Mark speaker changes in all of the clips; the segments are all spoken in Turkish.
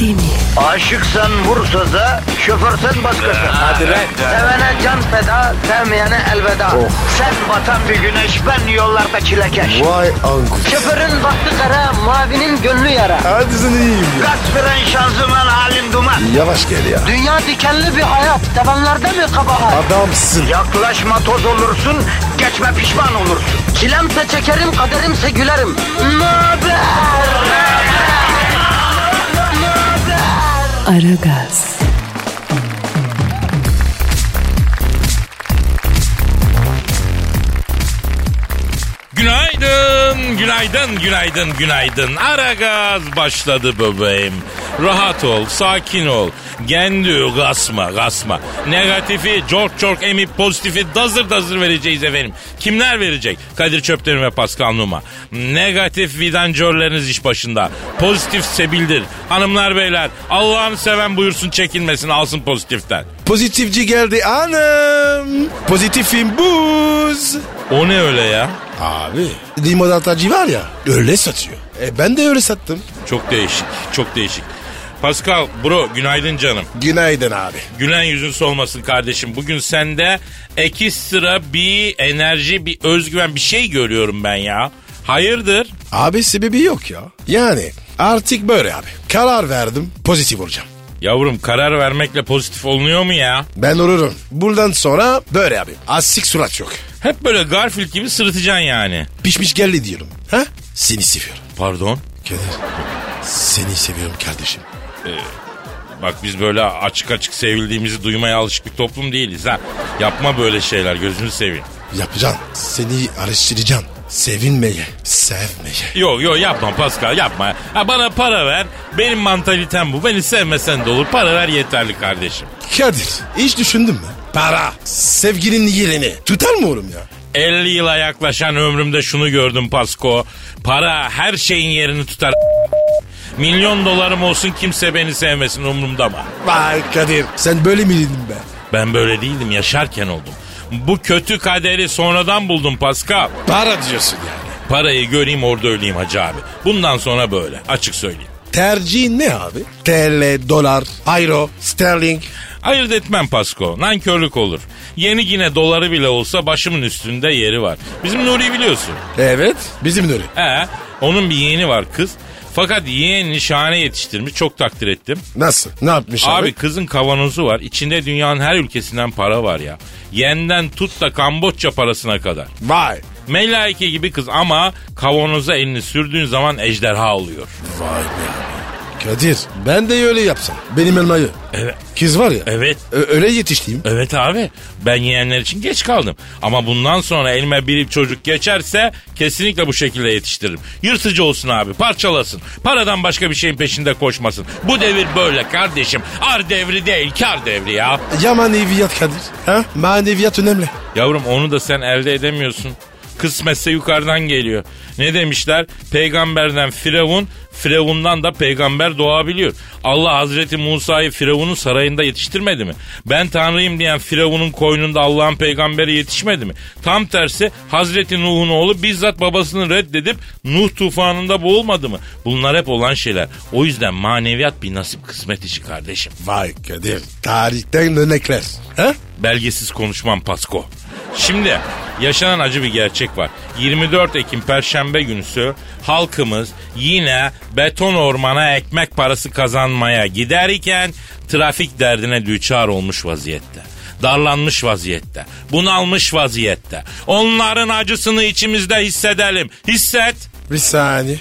Speaker 1: değil mi?
Speaker 2: Aşıksan vursa da şoförsen başkasın. Hadi
Speaker 3: lan.
Speaker 2: Sevene can feda, sevmeyene elveda. Sen batan bir güneş, ben yollarda çilekeş.
Speaker 3: Vay anku.
Speaker 2: Şoförün baktı kara, mavinin gönlü yara.
Speaker 3: Hadi sen iyiyim ya.
Speaker 2: Kasperen şanzıman halin duman.
Speaker 3: Yavaş gel ya.
Speaker 2: Dünya dikenli bir hayat, sevenlerde mi kabahar?
Speaker 3: Adamsın.
Speaker 2: Yaklaşma toz olursun, geçme pişman olursun. Çilemse çekerim, kaderimse gülerim. Möber!
Speaker 1: Aragaz,
Speaker 4: Günaydın, günaydın, günaydın, günaydın. Ara gaz başladı bebeğim. Rahat ol, sakin ol. Gendü kasma, kasma. Negatifi çok çok emip pozitifi dazır dazır vereceğiz efendim. Kimler verecek? Kadir Çöptemir ve Pascal Numa. Negatif vidancörleriniz iş başında. Pozitif sebildir. Hanımlar beyler Allah'ını seven buyursun çekinmesin alsın pozitiften.
Speaker 3: Pozitifci geldi anam. Pozitifim buz.
Speaker 4: O ne öyle ya?
Speaker 3: Abi. Limonatacı var ya öyle satıyor. E ben de öyle sattım.
Speaker 4: Çok değişik, çok değişik. Pascal, bro günaydın canım.
Speaker 3: Günaydın abi.
Speaker 4: Gülen yüzün solmasın kardeşim. Bugün sende ekstra bir enerji, bir özgüven, bir şey görüyorum ben ya. Hayırdır?
Speaker 3: Abi sebebi yok ya. Yani artık böyle abi. Karar verdim pozitif olacağım.
Speaker 4: Yavrum karar vermekle pozitif olunuyor mu ya?
Speaker 3: Ben olurum. Buradan sonra böyle abi. Asik surat yok.
Speaker 4: Hep böyle Garfield gibi sırıtacaksın yani.
Speaker 3: Pişmiş geldi diyorum. Ha? Seni seviyorum.
Speaker 4: Pardon.
Speaker 3: Kadir. Seni seviyorum kardeşim.
Speaker 4: Bak biz böyle açık açık sevildiğimizi duymaya alışık bir toplum değiliz ha. Yapma böyle şeyler gözünü seveyim.
Speaker 3: Yapacağım. Seni araştıracağım. Sevinmeye, sevmeye.
Speaker 4: Yok yok yapma Pascal yapma. Ha bana para ver. Benim mantalitem bu. Beni sevmesen de olur. Para ver yeterli kardeşim.
Speaker 3: Kadir, hiç düşündün mü? Para, sevginin yerini tutar mı oğlum ya?
Speaker 4: 50 yıla yaklaşan ömrümde şunu gördüm Pasko. Para her şeyin yerini tutar. Milyon dolarım olsun kimse beni sevmesin umurumda mı?
Speaker 3: Vay Kadir, sen böyle mi dedin be?
Speaker 4: Ben böyle değildim yaşarken oldum. Bu kötü kaderi sonradan buldum Pascal.
Speaker 3: Para diyorsun yani.
Speaker 4: Parayı göreyim orada öleyim hacı abi. Bundan sonra böyle açık söyleyeyim.
Speaker 3: Tercihin ne abi? TL, dolar, euro, sterling.
Speaker 4: Ayırt etmem Pasko. Nankörlük olur. Yeni yine doları bile olsa başımın üstünde yeri var. Bizim Nuri biliyorsun.
Speaker 3: Evet. Bizim de öyle.
Speaker 4: He, onun bir yeğeni var kız. Fakat yeğenini şahane yetiştirmiş. Çok takdir ettim.
Speaker 3: Nasıl? Ne yapmış abi?
Speaker 4: Abi kızın kavanozu var. İçinde dünyanın her ülkesinden para var ya. Yenden tut da Kamboçya parasına kadar.
Speaker 3: Vay.
Speaker 4: Melaike gibi kız ama kavanoza elini sürdüğün zaman ejderha oluyor.
Speaker 3: Vay be abi. Kadir, ben de öyle yapsam. Benim elmayı.
Speaker 4: Evet.
Speaker 3: Kız var ya.
Speaker 4: Evet.
Speaker 3: ö- öyle yetiştiğim.
Speaker 4: Evet abi ben yeğenler için geç kaldım. Ama bundan sonra elime bir çocuk geçerse kesinlikle bu şekilde yetiştiririm. Yırtıcı olsun abi parçalasın. Paradan başka bir şeyin peşinde koşmasın. Bu devir böyle kardeşim. Ar devri değil kar devri ya.
Speaker 3: Ya maneviyat Kadir. Ha? Maneviyat önemli.
Speaker 4: Yavrum onu da sen elde edemiyorsun. Kısmetse yukarıdan geliyor. Ne demişler? Peygamberden Firavun, Firavundan da peygamber doğabiliyor. Allah Hazreti Musa'yı Firavun'un sarayında yetiştirmedi mi? Ben Tanrıyım diyen Firavun'un koynunda Allah'ın peygamberi yetişmedi mi? Tam tersi Hazreti Nuh'un oğlu bizzat babasını reddedip Nuh tufanında boğulmadı mı? Bunlar hep olan şeyler. O yüzden maneviyat bir nasip kısmet işi kardeşim.
Speaker 3: Vay Kadir. Tarihten örnekler. Ha?
Speaker 4: Belgesiz konuşmam Pasko. Şimdi yaşanan acı bir gerçek var. 24 Ekim Perşembe günüsü halkımız yine beton ormana ekmek parası kazanmaya giderken trafik derdine düçar olmuş vaziyette. Darlanmış vaziyette, bunalmış vaziyette. Onların acısını içimizde hissedelim. Hisset.
Speaker 3: Bir saniye.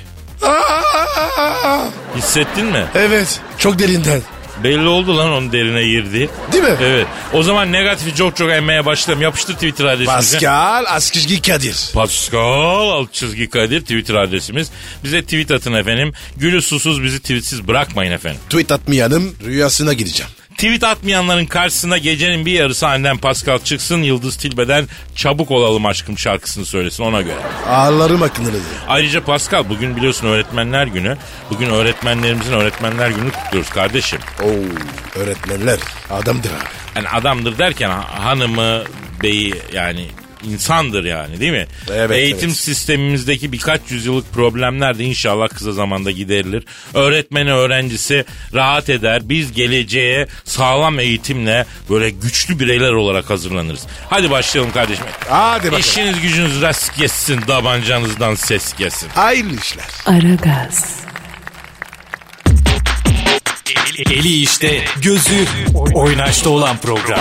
Speaker 3: Aa!
Speaker 4: Hissettin mi?
Speaker 3: Evet. Çok derinden.
Speaker 4: Belli oldu lan onun derine girdi.
Speaker 3: Değil mi?
Speaker 4: Evet. O zaman negatifi çok çok emmeye başlayalım. Yapıştır Twitter adresimize.
Speaker 3: Pascal Askışgi Kadir.
Speaker 4: Pascal alt çizgi Kadir Twitter adresimiz. Bize tweet atın efendim. Gülü susuz bizi tweetsiz bırakmayın efendim.
Speaker 3: Tweet atmayanım rüyasına gideceğim.
Speaker 4: Tweet atmayanların karşısına gecenin bir yarısı aniden Pascal çıksın. Yıldız Tilbe'den çabuk olalım aşkım şarkısını söylesin ona göre.
Speaker 3: Ağlarım aklını diye.
Speaker 4: Ayrıca Pascal bugün biliyorsun öğretmenler günü. Bugün öğretmenlerimizin öğretmenler günü kutluyoruz kardeşim.
Speaker 3: Oo, öğretmenler adamdır abi.
Speaker 4: Yani adamdır derken ha- hanımı, beyi yani insandır yani değil mi?
Speaker 3: Evet,
Speaker 4: Eğitim
Speaker 3: evet.
Speaker 4: sistemimizdeki birkaç yüzyıllık problemler de inşallah kısa zamanda giderilir. Öğretmeni öğrencisi rahat eder. Biz geleceğe sağlam eğitimle böyle güçlü bireyler olarak hazırlanırız. Hadi başlayalım kardeşim.
Speaker 3: Hadi bakalım.
Speaker 4: İşiniz gücünüz rast kessin, tabancanızdan ses kesin.
Speaker 3: Hayırlı işler.
Speaker 1: Aragaz,
Speaker 5: Eli işte, gözü oynaşta olan program.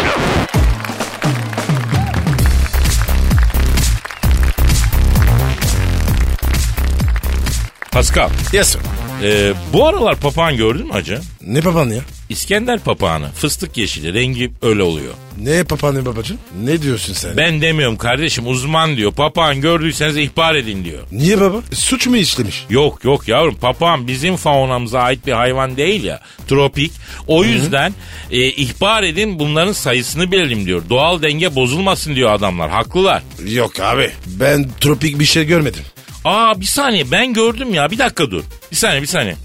Speaker 4: Pascal,
Speaker 3: Yes sir.
Speaker 4: e, bu aralar papağan gördün mü hacı?
Speaker 3: Ne baban ya?
Speaker 4: İskender papağanı, fıstık yeşili, rengi öyle oluyor.
Speaker 3: Ne papa ne babacığım? Ne diyorsun sen?
Speaker 4: Ben demiyorum kardeşim uzman diyor. Papağan gördüyseniz ihbar edin diyor.
Speaker 3: Niye baba? E, Suç mu işlemiş?
Speaker 4: Yok yok yavrum papağan bizim faunamıza ait bir hayvan değil ya. Tropik. O yüzden e, ihbar edin bunların sayısını bilelim diyor. Doğal denge bozulmasın diyor adamlar. Haklılar.
Speaker 3: Yok abi. Ben tropik bir şey görmedim.
Speaker 4: Aa bir saniye ben gördüm ya bir dakika dur. Bir saniye bir saniye.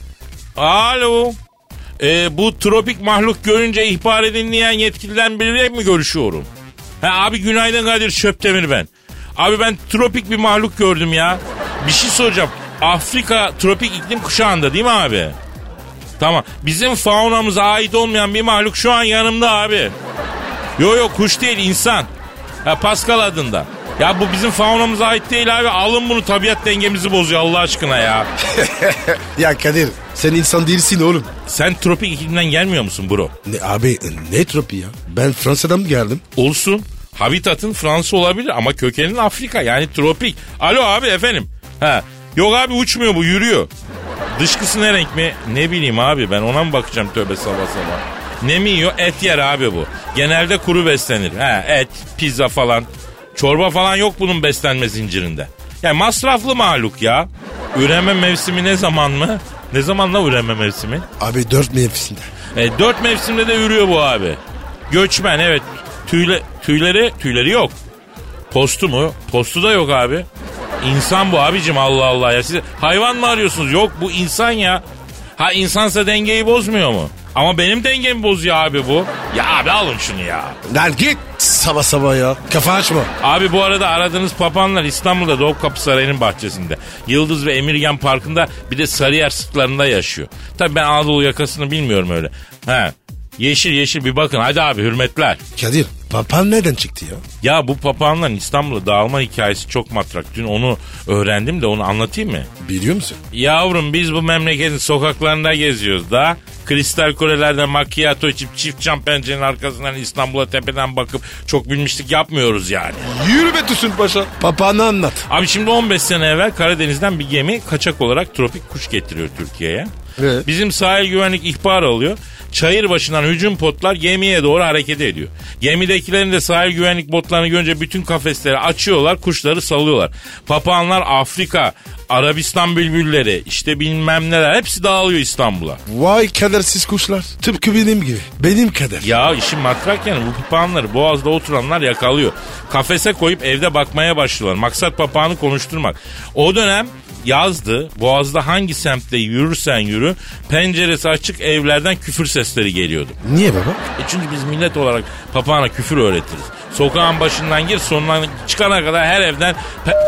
Speaker 4: Alo. E, bu tropik mahluk görünce ihbar edin diyen yetkililerden biriyle mi görüşüyorum? Ha abi günaydın Kadir Şöptemir ben. Abi ben tropik bir mahluk gördüm ya. Bir şey soracağım. Afrika tropik iklim kuşağında değil mi abi? Tamam. Bizim faunamıza ait olmayan bir mahluk şu an yanımda abi. Yo yo kuş değil insan. Ha, Pascal adında. Ya bu bizim faunamıza ait değil abi. Alın bunu tabiat dengemizi bozuyor Allah aşkına ya.
Speaker 3: Ya Kadir sen insan değilsin oğlum.
Speaker 4: Sen tropik iklimden gelmiyor musun bro?
Speaker 3: Ne, abi ne tropi ya? Ben Fransa'dan mı geldim?
Speaker 4: Olsun. Habitatın Fransa olabilir ama kökenin Afrika yani tropik. Alo abi efendim. Ha. Yok abi uçmuyor bu yürüyor. Dışkısı ne renk mi? Ne bileyim abi ben ona mı bakacağım tövbe sabah sabah. Ne mi yiyor? Et yer abi bu. Genelde kuru beslenir. Ha et, pizza falan. Çorba falan yok bunun beslenme zincirinde. Yani masraflı mahluk ya. Üreme mevsimi ne zaman mı? Ne zamanla üreme mevsimi?
Speaker 3: Abi dört mevsimde.
Speaker 4: E, dört mevsimde de yürüyor bu abi. Göçmen evet. Tüyle, tüyleri tüyleri yok. Postu mu? Postu da yok abi. İnsan bu abicim Allah Allah ya. Siz hayvan mı arıyorsunuz? Yok bu insan ya. Ha insansa dengeyi bozmuyor mu? Ama benim dengemi bozuyor abi bu. Ya abi alın şunu ya.
Speaker 3: Lan git sabah sabah ya. Kafa açma.
Speaker 4: Abi bu arada aradığınız papanlar İstanbul'da Doğupkapı Sarayı'nın bahçesinde. Yıldız ve Emirgan Parkı'nda bir de Sarıyer sıtlarında yaşıyor. Tabii ben Anadolu yakasını bilmiyorum öyle. He. Yeşil yeşil bir bakın hadi abi hürmetler.
Speaker 3: Kadir papan nereden çıktı ya?
Speaker 4: Ya bu papağanların İstanbul'a dağılma hikayesi çok matrak. Dün onu öğrendim de onu anlatayım mı?
Speaker 3: Biliyor musun?
Speaker 4: Yavrum biz bu memleketin sokaklarında geziyoruz da. Kristal kulelerde macchiato içip çift cam pencerenin arkasından İstanbul'a tepeden bakıp çok bilmişlik yapmıyoruz yani.
Speaker 3: Yürü be Tüsün Paşa. Papağanı anlat.
Speaker 4: Abi şimdi 15 sene evvel Karadeniz'den bir gemi kaçak olarak tropik kuş getiriyor Türkiye'ye.
Speaker 3: Evet.
Speaker 4: Bizim sahil güvenlik ihbar alıyor. Çayır başından hücum potlar gemiye doğru hareket ediyor. Gemidekilerin de sahil güvenlik botlarını görünce bütün kafesleri açıyorlar, kuşları salıyorlar. Papağanlar Afrika, Arabistan bülbülleri, işte bilmem neler hepsi dağılıyor İstanbul'a.
Speaker 3: Vay kadersiz kuşlar. Tıpkı benim gibi. Benim kader.
Speaker 4: Ya işin matrak yani bu papağanları boğazda oturanlar yakalıyor. Kafese koyup evde bakmaya başlıyorlar. Maksat papağanı konuşturmak. O dönem yazdı. Boğaz'da hangi semtte yürürsen yürü penceresi açık evlerden küfür sesleri geliyordu.
Speaker 3: Niye baba?
Speaker 4: E çünkü biz millet olarak papağana küfür öğretiriz. Sokağın başından gir sonuna çıkana kadar her evden pe-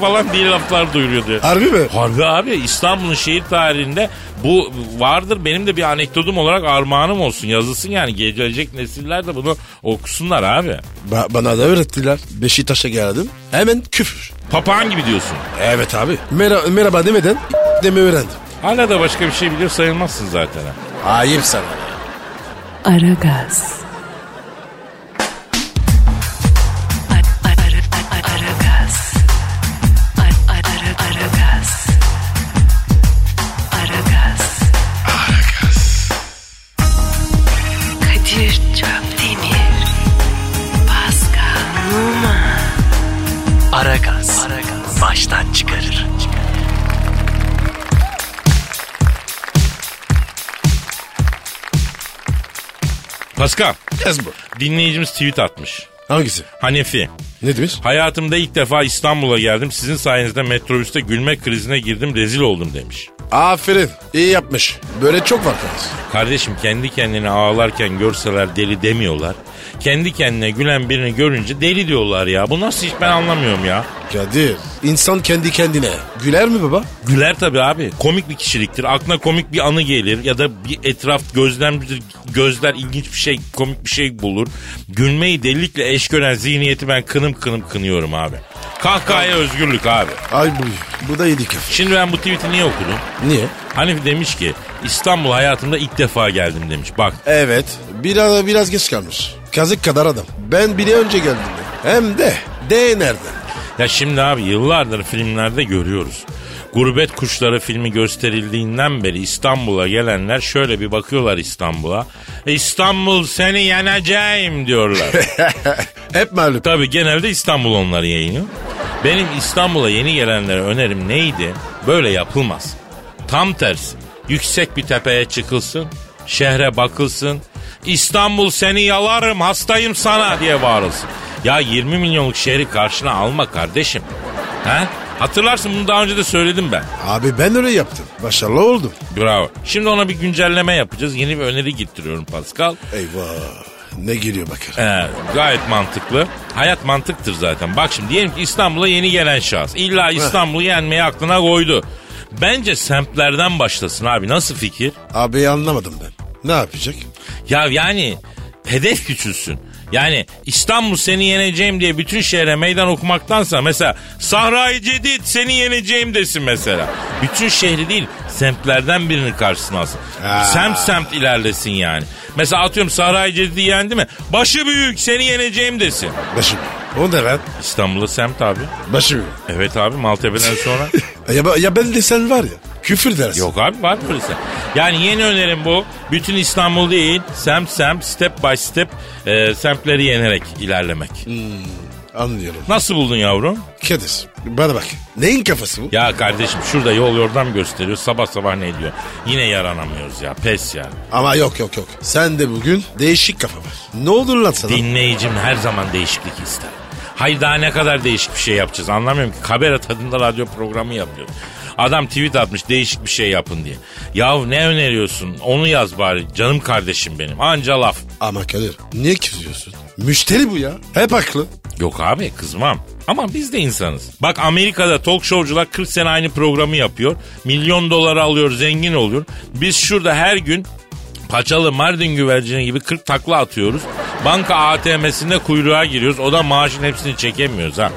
Speaker 4: falan diye laflar duyuruyordu.
Speaker 3: Harbi mi?
Speaker 4: Harbi abi İstanbul'un şehir tarihinde bu vardır. Benim de bir anekdotum olarak armağanım olsun. Yazılsın yani gelecek nesiller de bunu okusunlar abi.
Speaker 3: Ba- bana da öğrettiler. Beşiktaş'a geldim. Hemen küfür.
Speaker 4: Papağan gibi diyorsun.
Speaker 3: Evet abi. Mera- merhaba demeden deme öğrendim.
Speaker 4: Hala da başka bir şey biliyor sayılmazsın zaten. ha.
Speaker 3: Ayıp sana.
Speaker 1: Aragaz. Ara- ara- ara- Aragaz. Ara- ara- Aragaz. Aragaz. Kadir Çöptemir. Pascal Numa.
Speaker 2: Aragaz. Baştan çıkarır.
Speaker 4: Pascal
Speaker 3: Yaz bu.
Speaker 4: dinleyicimiz tweet atmış.
Speaker 3: Hangisi?
Speaker 4: Hanefi.
Speaker 3: Ne demiş?
Speaker 4: Hayatımda ilk defa İstanbul'a geldim. Sizin sayenizde metrobüste gülme krizine girdim rezil oldum demiş.
Speaker 3: Aferin. iyi yapmış. Böyle çok var Kadir.
Speaker 4: Kardeşim kendi kendine ağlarken görseler deli demiyorlar. Kendi kendine gülen birini görünce deli diyorlar ya. Bu nasıl hiç ben anlamıyorum ya.
Speaker 3: Kadir. İnsan kendi kendine. Güler mi baba?
Speaker 4: Güler tabii abi. Komik bir kişiliktir. Aklına komik bir anı gelir ya da bir etraf gözlem gözler ilginç bir şey, komik bir şey bulur. Gülmeyi delilikle eş gören zihniyeti ben kınım kınım kınıyorum abi. Kahkahaya özgürlük abi.
Speaker 3: Ay bu, bu da yedi küfür.
Speaker 4: Şimdi ben bu tweet'i niye okudum?
Speaker 3: Niye?
Speaker 4: Hanif demiş ki İstanbul hayatımda ilk defa geldim demiş. Bak
Speaker 3: Evet. Biraz, biraz geç kalmış. Kazık kadar adam. Ben bile önce geldim. ya. Hem de. D nerede?
Speaker 4: Ya şimdi abi yıllardır filmlerde görüyoruz. Gurbet Kuşları filmi gösterildiğinden beri İstanbul'a gelenler şöyle bir bakıyorlar İstanbul'a. İstanbul seni yeneceğim diyorlar.
Speaker 3: Hep mağlup.
Speaker 4: Tabii genelde İstanbul onları yayınlıyor. Benim İstanbul'a yeni gelenlere önerim neydi? Böyle yapılmaz. Tam tersi. Yüksek bir tepeye çıkılsın, şehre bakılsın. İstanbul seni yalarım, hastayım sana diye bağırılsın. Ya 20 milyonluk şehri karşına alma kardeşim. He? Hatırlarsın bunu daha önce de söyledim ben.
Speaker 3: Abi ben öyle yaptım. Başarılı oldum.
Speaker 4: Bravo. Şimdi ona bir güncelleme yapacağız. Yeni bir öneri getiriyorum Pascal.
Speaker 3: Eyvah. Ne geliyor bakın.
Speaker 4: Ee, gayet mantıklı. Hayat mantıktır zaten. Bak şimdi diyelim ki İstanbul'a yeni gelen şahıs. İlla İstanbul'u yenmeyi aklına koydu. Bence semtlerden başlasın abi. Nasıl fikir?
Speaker 3: Abi anlamadım ben. Ne yapacak?
Speaker 4: Ya yani hedef küçülsün. Yani İstanbul seni yeneceğim diye bütün şehre meydan okumaktansa mesela Sahra-i Cedid seni yeneceğim desin mesela. Bütün şehri değil semtlerden birini karşısına alsın.
Speaker 3: Ha.
Speaker 4: Semt semt ilerlesin yani. Mesela atıyorum Sahra-i Cedid'i yendi mi? Başı büyük seni yeneceğim desin.
Speaker 3: Başım. O ne lan?
Speaker 4: İstanbul'a semt abi.
Speaker 3: Başım.
Speaker 4: Evet abi Maltepe'den sonra.
Speaker 3: Ya, ben- ya ben de sen var ya. Küfür dersin.
Speaker 4: Yok abi var böyle semt. Yani yeni önerim bu. Bütün İstanbul değil semt semt step by step e, semtleri yenerek ilerlemek.
Speaker 3: Anlıyorum.
Speaker 4: Nasıl buldun yavrum?
Speaker 3: Kadir. Bana bak. Neyin kafası bu?
Speaker 4: Ya kardeşim şurada yol yordam gösteriyor sabah sabah ne diyor. Yine yaranamıyoruz ya pes yani.
Speaker 3: Ama yok yok yok. Sen de bugün değişik kafa var. Ne olur lan sana?
Speaker 4: Dinleyicim her zaman değişiklik ister. Hayır daha ne kadar değişik bir şey yapacağız anlamıyorum ki. Kabera tadında radyo programı yapıyoruz. Adam tweet atmış değişik bir şey yapın diye. Yahu ne öneriyorsun onu yaz bari canım kardeşim benim anca laf.
Speaker 3: Ama Kadir niye kızıyorsun? Müşteri bu ya. Hep haklı.
Speaker 4: Yok abi kızmam. Ama biz de insanız. Bak Amerika'da talk showcular 40 sene aynı programı yapıyor. Milyon dolar alıyor, zengin oluyor. Biz şurada her gün paçalı Mardin güvercini gibi 40 takla atıyoruz. Banka ATM'sinde kuyruğa giriyoruz. O da maaşın hepsini çekemiyoruz ha.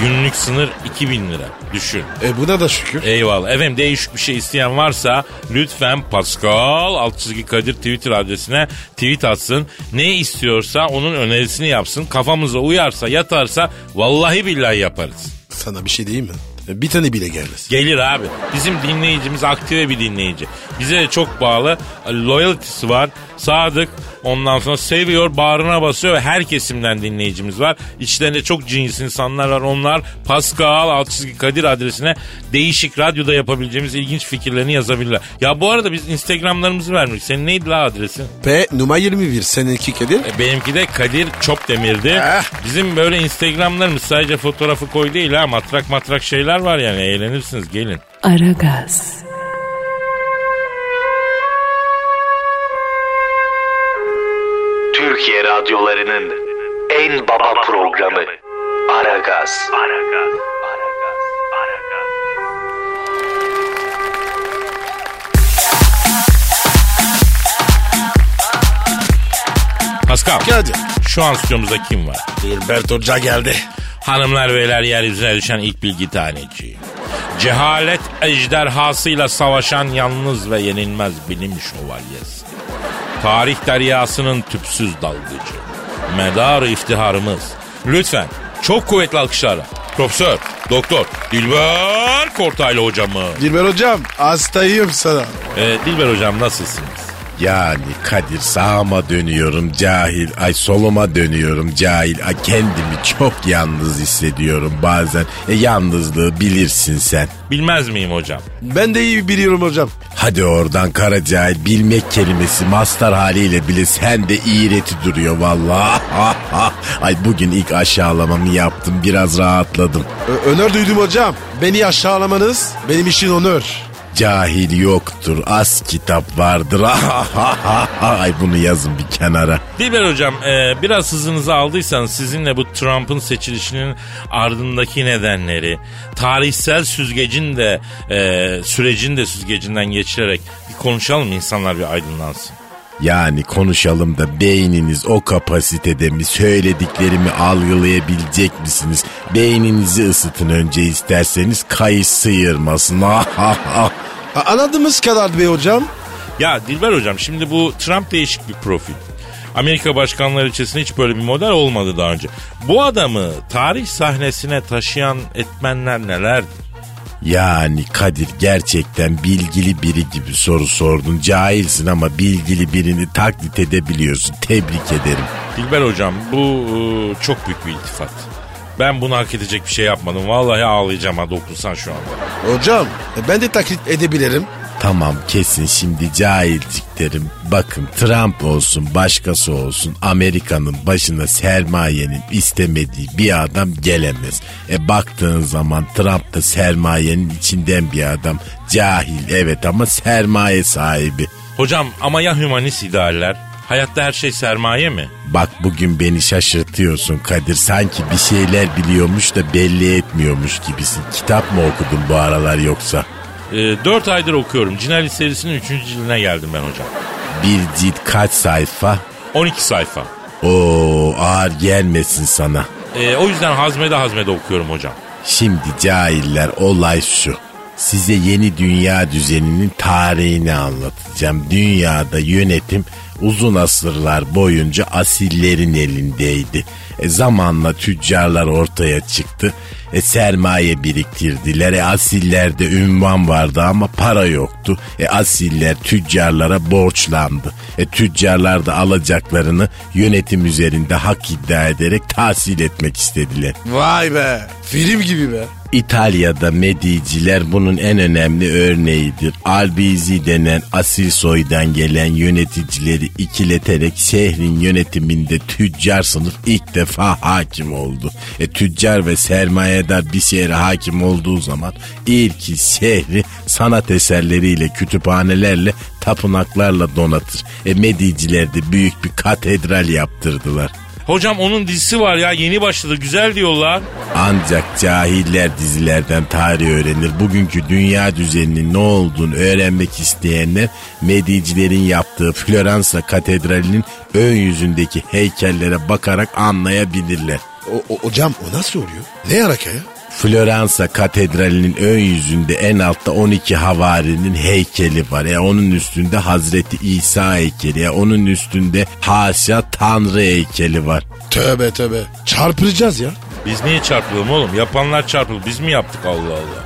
Speaker 4: Günlük sınır 2000 lira. Düşün.
Speaker 3: E buna da şükür.
Speaker 4: Eyvallah. Efendim değişik bir şey isteyen varsa lütfen Pascal alt çizgi Kadir Twitter adresine tweet atsın. Ne istiyorsa onun önerisini yapsın. Kafamıza uyarsa yatarsa vallahi billahi yaparız.
Speaker 3: Sana bir şey diyeyim mi? Bir tane bile gelmez.
Speaker 4: Gelir abi. Bizim dinleyicimiz aktive bir dinleyici. Bize de çok bağlı. Loyalty'si var. Sadık. Ondan sonra seviyor, bağrına basıyor. Her kesimden dinleyicimiz var. İçlerinde çok cins insanlar var. Onlar Pascal alt çizgi Kadir adresine değişik radyoda yapabileceğimiz ilginç fikirlerini yazabilirler. Ya bu arada biz Instagram'larımızı vermiş. Senin neydi la adresin?
Speaker 3: P numara 21 seninki Kadir.
Speaker 4: E, Benimki de Kadir Çopdemir'di.
Speaker 3: Eh.
Speaker 4: Bizim böyle Instagram'larımız sadece fotoğrafı koy değil ha. Matrak matrak şeyler var yani. Eğlenirsiniz gelin.
Speaker 1: Aragaz,
Speaker 6: Türkiye radyolarının en baba programı Aragaz.
Speaker 4: Pascal.
Speaker 3: Kadir.
Speaker 4: Şu an stüdyomuzda kim var?
Speaker 3: Gilbert Hoca geldi.
Speaker 4: Hanımlar beyler yeryüzüne düşen ilk bilgi taneci. Cehalet ejderhasıyla savaşan yalnız ve yenilmez bilim şövalyesi. Tarih deryasının tüpsüz dalgıcı. Medar iftiharımız. Lütfen çok kuvvetli alkışlarla. Profesör, doktor, Dilber Kortaylı hocamız.
Speaker 3: Gilbert Hocam hastayım sana.
Speaker 4: Ee, Dilber hocam nasılsınız?
Speaker 7: Yani Kadir sağıma dönüyorum cahil. Ay soluma dönüyorum cahil. Ay kendimi çok yalnız hissediyorum bazen. E yalnızlığı bilirsin sen.
Speaker 4: Bilmez miyim hocam?
Speaker 3: Ben de iyi biliyorum hocam.
Speaker 7: Hadi oradan kara cahil bilmek kelimesi mastar haliyle bile sende iğreti duruyor vallahi. Ay bugün ilk aşağılamamı yaptım biraz rahatladım.
Speaker 3: Ö- öner duydum hocam. Beni aşağılamanız benim için onur.
Speaker 7: Cahil yoktur, az kitap vardır. Ay bunu yazın bir kenara.
Speaker 4: Dilber hocam e, biraz hızınızı aldıysanız sizinle bu Trump'ın seçilişinin ardındaki nedenleri, tarihsel süzgecin de e, sürecin de süzgecinden geçirerek bir konuşalım insanlar bir aydınlansın.
Speaker 7: Yani konuşalım da beyniniz o kapasitede mi söylediklerimi algılayabilecek misiniz? Beyninizi ısıtın önce isterseniz kayış sıyırmasın.
Speaker 3: A- anladığımız kadar be hocam.
Speaker 4: Ya Dilber hocam şimdi bu Trump değişik bir profil. Amerika başkanları içerisinde hiç böyle bir model olmadı daha önce. Bu adamı tarih sahnesine taşıyan etmenler nelerdi?
Speaker 7: yani Kadir gerçekten bilgili biri gibi soru sordun. Cahilsin ama bilgili birini taklit edebiliyorsun. Tebrik ederim.
Speaker 4: Dilber hocam bu e, çok büyük bir iltifat. Ben bunu hak edecek bir şey yapmadım. Vallahi ağlayacağım ha dokunsan şu anda.
Speaker 3: Hocam e, ben de taklit edebilirim.
Speaker 7: Tamam kesin şimdi cahilciklerim. Bakın Trump olsun başkası olsun Amerika'nın başına sermayenin istemediği bir adam gelemez. E baktığın zaman Trump da sermayenin içinden bir adam. Cahil evet ama sermaye sahibi.
Speaker 4: Hocam ama ya hümanist idealler? Hayatta her şey sermaye mi?
Speaker 7: Bak bugün beni şaşırtıyorsun Kadir. Sanki bir şeyler biliyormuş da belli etmiyormuş gibisin. Kitap mı okudun bu aralar yoksa?
Speaker 4: E, 4 aydır okuyorum. Cinali serisinin 3. cildine geldim ben hocam.
Speaker 7: Bir cilt kaç sayfa?
Speaker 4: 12 sayfa.
Speaker 7: Oo ağır gelmesin sana.
Speaker 4: E, o yüzden hazmede hazmede okuyorum hocam.
Speaker 7: Şimdi cahiller olay şu. Size yeni dünya düzeninin tarihini anlatacağım. Dünyada yönetim uzun asırlar boyunca asillerin elindeydi. E, zamanla tüccarlar ortaya çıktı. E, sermaye biriktirdiler. E, asillerde ünvan vardı ama para yoktu. E, asiller tüccarlara borçlandı. E, tüccarlar da alacaklarını yönetim üzerinde hak iddia ederek tahsil etmek istediler.
Speaker 3: Vay be. Film gibi be.
Speaker 7: İtalya'da Mediciler bunun en önemli örneğidir. Albizi denen asil soydan gelen yöneticileri ikileterek şehrin yönetiminde tüccar sınıf ilk defa hakim oldu. E, tüccar ve sermayedar bir şehre hakim olduğu zaman ilk iş şehri sanat eserleriyle, kütüphanelerle, tapınaklarla donatır. E, Mediciler de büyük bir katedral yaptırdılar.
Speaker 4: Hocam onun dizisi var ya yeni başladı güzel diyorlar.
Speaker 7: Ancak cahiller dizilerden tarih öğrenir. Bugünkü dünya düzeninin ne olduğunu öğrenmek isteyenler Medicilerin yaptığı Floransa Katedrali'nin ön yüzündeki heykellere bakarak anlayabilirler.
Speaker 3: O, o- hocam o nasıl oluyor? Ne alaka ya?
Speaker 7: Floransa Katedrali'nin ön yüzünde en altta 12 havarinin heykeli var. E onun üstünde Hazreti İsa heykeli, e onun üstünde haşa Tanrı heykeli var.
Speaker 3: Tövbe tövbe. Çarpılacağız ya.
Speaker 4: Biz niye çarpılalım oğlum? Yapanlar çarpıldı. Biz mi yaptık Allah Allah?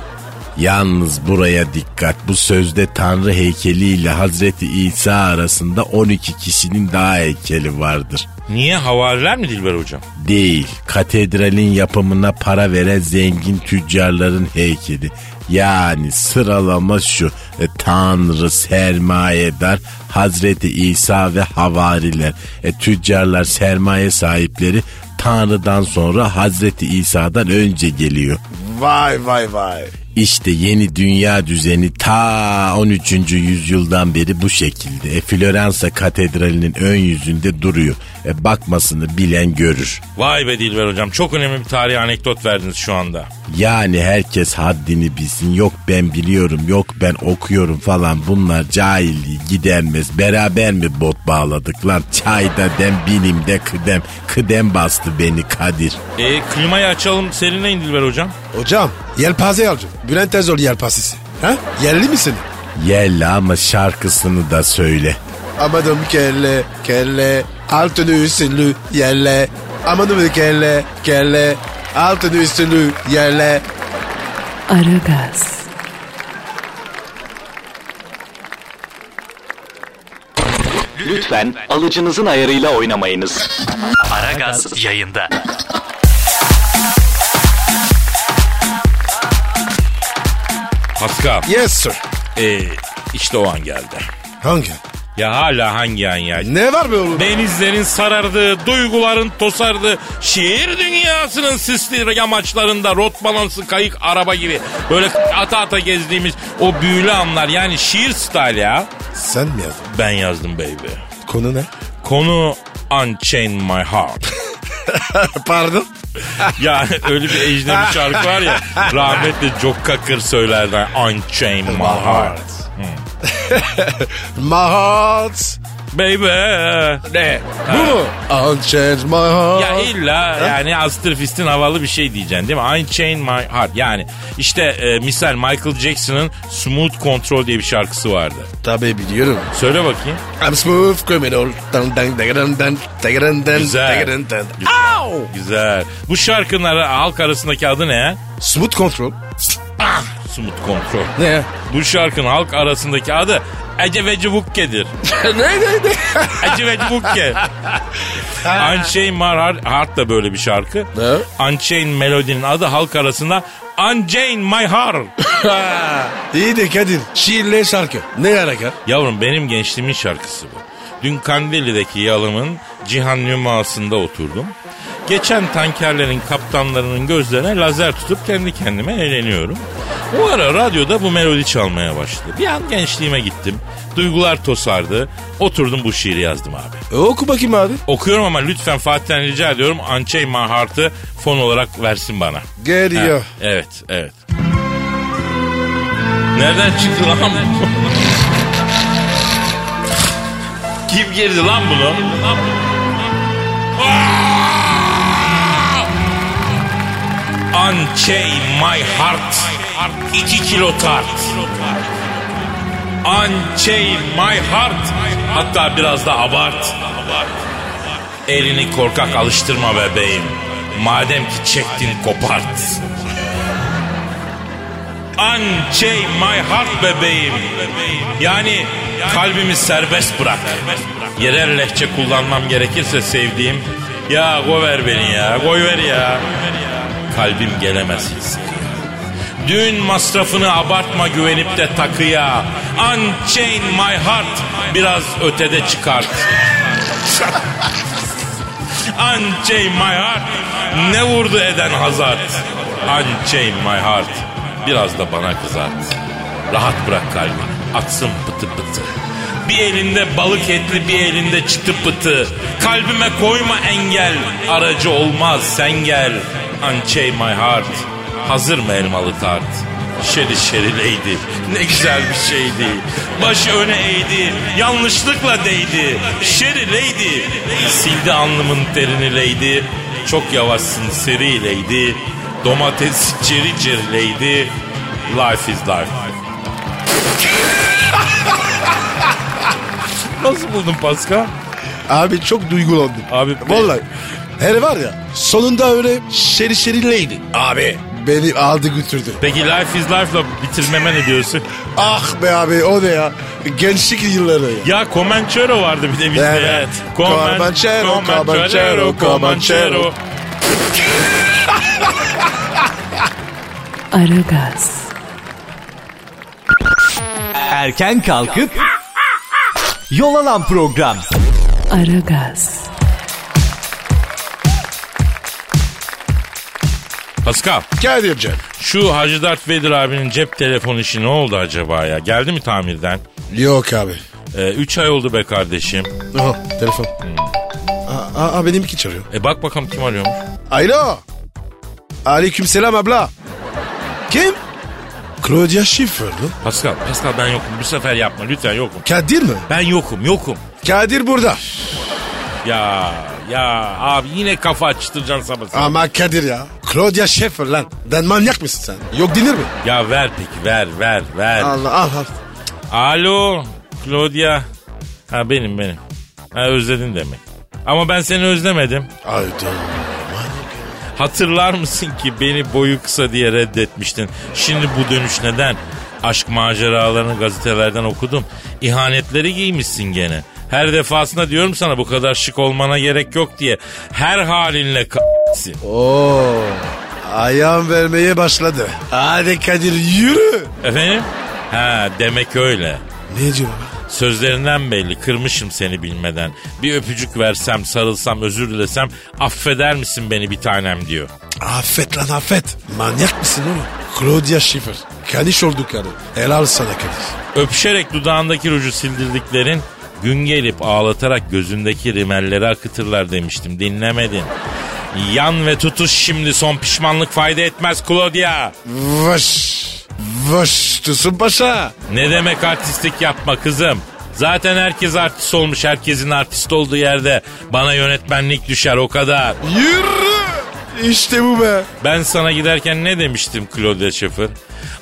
Speaker 7: Yalnız buraya dikkat. Bu sözde Tanrı heykeli ile Hazreti İsa arasında 12 kişinin daha heykeli vardır.
Speaker 4: Niye havariler mi Dilber hocam?
Speaker 7: Değil, katedralin yapımına para veren zengin tüccarların heykeli. Yani sıralama şu. E, Tanrı, sermayedar, Hazreti İsa ve havariler. E, tüccarlar, sermaye sahipleri Tanrı'dan sonra Hazreti İsa'dan önce geliyor.
Speaker 3: Vay vay vay.
Speaker 7: İşte yeni dünya düzeni ta 13. yüzyıldan beri bu şekilde. E, Floransa Katedrali'nin ön yüzünde duruyor. E, bakmasını bilen görür.
Speaker 4: Vay be Dilber hocam çok önemli bir tarihi anekdot verdiniz şu anda.
Speaker 7: Yani herkes haddini bilsin. Yok ben biliyorum, yok ben okuyorum falan. Bunlar cahilliği gidermez. Beraber mi bot bağladık lan? Çayda dem, bilimde kıdem. Kıdem bastı beni Kadir.
Speaker 4: E, klimayı açalım serinleyin Dilber hocam.
Speaker 3: Hocam yelpaze alacağım. Bülent Ersoy yelpazesi. Ha? Yerli misin?
Speaker 7: Yella ama şarkısını da söyle.
Speaker 3: Amanım kelle kelle altını üstünlü yerle. Amanım kelle kelle altını üstünlü yerle.
Speaker 1: Aragaz,
Speaker 6: Lütfen alıcınızın ayarıyla oynamayınız.
Speaker 5: Aragaz yayında.
Speaker 4: Pascal
Speaker 3: Yes sir.
Speaker 4: e, işte o an geldi.
Speaker 3: Hangi?
Speaker 4: Ya hala hangi an ya?
Speaker 3: Ne var be oğlum?
Speaker 4: Denizlerin sarardığı, duyguların tosardığı, şiir dünyasının sisli yamaçlarında rot balansı kayık araba gibi böyle ata ata gezdiğimiz o büyülü anlar yani şiir style ya.
Speaker 3: Sen mi yazdın?
Speaker 4: Ben yazdım baby.
Speaker 3: Konu ne?
Speaker 4: Konu Unchain My Heart.
Speaker 3: Pardon.
Speaker 4: ya öyle bir ecnebi şarkı var ya rahmetli Jock Cocker söylerden Unchain My Heart.
Speaker 3: My heart.
Speaker 4: Baby.
Speaker 3: Ne? Bu mu? Unchange my heart.
Speaker 4: Ya illa yani Astrofist'in havalı bir şey diyeceksin değil mi? Unchain My Heart. Yani işte e, misal Michael Jackson'ın Smooth Control diye bir şarkısı vardı.
Speaker 3: Tabii biliyorum.
Speaker 4: Söyle bakayım.
Speaker 3: I'm smooth criminal. Dun dun dun dun dun dun
Speaker 4: Güzel.
Speaker 3: dun dun.
Speaker 4: Güzel. Bu şarkının ara- halk arasındaki adı ne? Ah,
Speaker 3: Smooth control.
Speaker 4: Smooth Control.
Speaker 3: Ne?
Speaker 4: Bu şarkının halk arasındaki adı Eceveci Vukke'dir.
Speaker 3: ne ne ne?
Speaker 4: Eceveci Vukke. Unchained My Heart, Heart da böyle bir şarkı.
Speaker 3: Ne?
Speaker 4: Unchained Melody'nin adı halk arasında Unchained My Heart.
Speaker 3: İyi de Kadir. Şiirle şarkı. Ne alaka?
Speaker 4: Yavrum benim gençliğimin şarkısı bu. Dün Kandilli'deki yalımın Cihan Nüması'nda oturdum. Geçen tankerlerin kaptanlarının gözlerine lazer tutup kendi kendime eğleniyorum. O ara radyoda bu melodi çalmaya başladı. Bir an gençliğime gittim. Duygular tosardı. Oturdum bu şiiri yazdım
Speaker 3: E,
Speaker 4: abi.
Speaker 3: oku bakayım abi.
Speaker 4: Okuyorum ama lütfen Fatih'ten rica ediyorum Unchained My Heart'ı fon olarak versin bana.
Speaker 3: Geliyor.
Speaker 4: Evet, evet. Nereden çıktı lan bu? Kim girdi lan bunu? Aa! Unchain my heart. 2 kilo tart. Unchain my heart. Hatta biraz da abart. Elini korkak alıştırma bebeğim. Madem ki çektin kopart. Unchain şey my heart bebeğim. Yani kalbimi serbest bırak. Yerel lehçe kullanmam gerekirse sevdiğim. Ya kover beni ya, koy ver ya. Kalbim gelemez hiç. Düğün masrafını abartma güvenip de takıya. Unchain my heart biraz ötede çıkart. Unchain my heart ne vurdu eden hazart. Unchain my heart biraz da bana kızart. Rahat bırak kalbini atsın pıtı pıtı. Bir elinde balık etli bir elinde çıtı pıtı. Kalbime koyma engel aracı olmaz sen gel. Unchain my heart Hazır mı elmalı tart? Şeri şerileydi. Ne güzel bir şeydi. Başı öne eğdi. Yanlışlıkla değdi. Şerileydi. Sildi alnımın terini leydi. Çok yavaşsın serileydi. Domates çeri çerileydi. Life is life. Nasıl buldun Pascal?
Speaker 3: Abi çok duygulandım.
Speaker 4: Abi-
Speaker 3: Vallahi. Her var ya sonunda öyle şeri şerileydi.
Speaker 4: Abi.
Speaker 3: Beni aldı götürdü.
Speaker 4: Peki Life is Life'la bitirmeme ne diyorsun?
Speaker 3: Ah be abi o ne ya? Gençlik yılları ya.
Speaker 4: Ya Comanchero vardı bir de bizde.
Speaker 3: Evet.
Speaker 4: Evet.
Speaker 3: Comanchero, Comanchero, Comanchero.
Speaker 1: Aragaz,
Speaker 8: Erken kalkıp yol alan program.
Speaker 1: Aragaz,
Speaker 4: Pascal,
Speaker 3: Kadir'cim.
Speaker 4: şu Hacı Dert Vedir abinin cep telefonu işi ne oldu acaba ya? Geldi mi tamirden?
Speaker 3: Yok abi.
Speaker 4: 3 ay oldu be kardeşim.
Speaker 3: Aha telefon. Aa, aa benimki çalıyor.
Speaker 4: E bak bakalım kim arıyormuş.
Speaker 3: Alo. Aleyküm selam abla. Kim? Claudia Schiffer mi?
Speaker 4: Pascal, Pascal ben yokum. Bu sefer yapma lütfen yokum.
Speaker 3: Kadir mi?
Speaker 4: Ben yokum, yokum.
Speaker 3: Kadir burada.
Speaker 4: Ya, ya abi yine kafa açtıracaksın sabah sabah.
Speaker 3: Ama Kadir ya. Claudia Schiffer lan. Lan manyak mısın sen? Yok dinir mi?
Speaker 4: Ya ver peki, ver, ver, ver.
Speaker 3: Allah al al.
Speaker 4: Alo, Claudia. Ha benim, benim. Ha özledin demek. Ama ben seni özlemedim.
Speaker 3: Hayda.
Speaker 4: Hatırlar mısın ki beni boyu kısa diye reddetmiştin. Şimdi bu dönüş neden? Aşk maceralarını gazetelerden okudum. İhanetleri giymişsin gene. Her defasında diyorum sana bu kadar şık olmana gerek yok diye. Her halinle k***sin.
Speaker 3: Oo. Ayağım vermeye başladı. Hadi Kadir yürü.
Speaker 4: Efendim? Ha demek öyle.
Speaker 3: Ne diyor baba?
Speaker 4: Sözlerinden belli kırmışım seni bilmeden. Bir öpücük versem, sarılsam, özür dilesem affeder misin beni bir tanem diyor.
Speaker 3: Affet lan affet. Manyak mısın oğlum? Claudia Schiffer. Kaniş oldu karı. Helal sana Kadir.
Speaker 4: Öpüşerek dudağındaki ruju sildirdiklerin gün gelip ağlatarak gözündeki rimelleri akıtırlar demiştim dinlemedin. Yan ve tutuş şimdi son pişmanlık fayda etmez Claudia.
Speaker 3: Vış. Vış. Tosun Paşa.
Speaker 4: Ne demek artistlik yapma kızım? Zaten herkes artist olmuş herkesin artist olduğu yerde bana yönetmenlik düşer o kadar.
Speaker 3: Yürü. İşte bu be.
Speaker 4: Ben sana giderken ne demiştim Claudia Schiffer?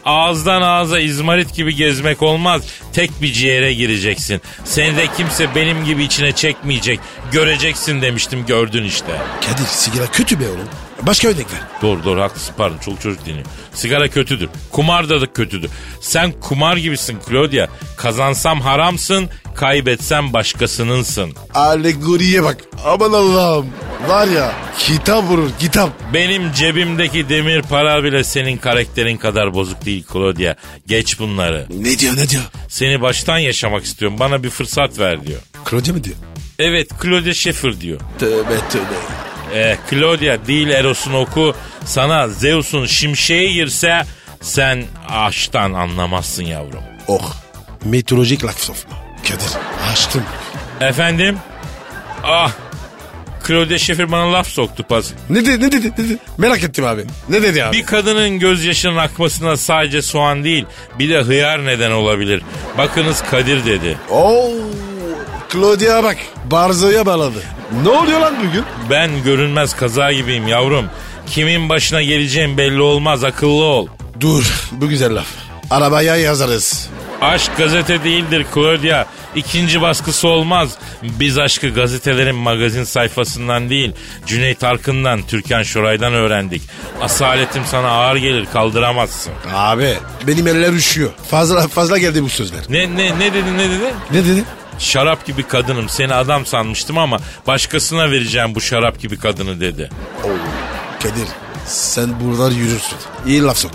Speaker 4: Ağızdan ağza izmarit gibi gezmek olmaz. Tek bir ciğere gireceksin. Seni de kimse benim gibi içine çekmeyecek. Göreceksin demiştim gördün işte.
Speaker 3: Kadir sigara kötü be oğlum. Başka örnek ver.
Speaker 4: Doğru doğru haklısın pardon çok çocuk dinliyor. Sigara kötüdür. Kumar da da kötüdür. Sen kumar gibisin Claudia. Kazansam haramsın, kaybetsem başkasınınsın.
Speaker 3: Alegoriye bak. Aman Allah'ım. Var ya kitap vurur kitap.
Speaker 4: Benim cebimdeki demir para bile senin karakterin kadar bozuk değil Claudia. Geç bunları.
Speaker 3: Ne diyor ne diyor?
Speaker 4: Seni baştan yaşamak istiyorum. Bana bir fırsat ver diyor.
Speaker 3: Claudia mı diyor?
Speaker 4: Evet Claudia Schiffer diyor.
Speaker 3: Tövbe tövbe.
Speaker 4: Eh, Claudia değil Eros'un oku. Sana Zeus'un şimşeği girse sen aştan anlamazsın yavrum.
Speaker 3: Oh. Meteorolojik laf sofma. Kadir açtım.
Speaker 4: Efendim? Ah. Claudia Schiffer bana laf soktu pas.
Speaker 3: Ne dedi ne dedi ne dedi? Merak ettim abi. Ne dedi abi?
Speaker 4: Bir kadının gözyaşının akmasına sadece soğan değil bir de hıyar neden olabilir. Bakınız Kadir dedi.
Speaker 3: Oo. Claudia bak. Barzoya bağladı. Ne oluyor lan bugün?
Speaker 4: Ben görünmez kaza gibiyim yavrum. Kimin başına geleceğim belli olmaz akıllı ol.
Speaker 3: Dur bu güzel laf. Arabaya yazarız.
Speaker 4: Aşk gazete değildir Claudia. İkinci baskısı olmaz. Biz aşkı gazetelerin magazin sayfasından değil, Cüneyt Arkın'dan, Türkan Şoray'dan öğrendik. Asaletim sana ağır gelir, kaldıramazsın.
Speaker 3: Abi benim eller üşüyor. Fazla fazla geldi bu sözler.
Speaker 4: Ne ne ne dedi ne dedi?
Speaker 3: Ne dedi?
Speaker 4: Şarap gibi kadınım, seni adam sanmıştım ama başkasına vereceğim bu şarap gibi kadını dedi.
Speaker 3: Kadir sen buradan yürürsün. İyi laf sok.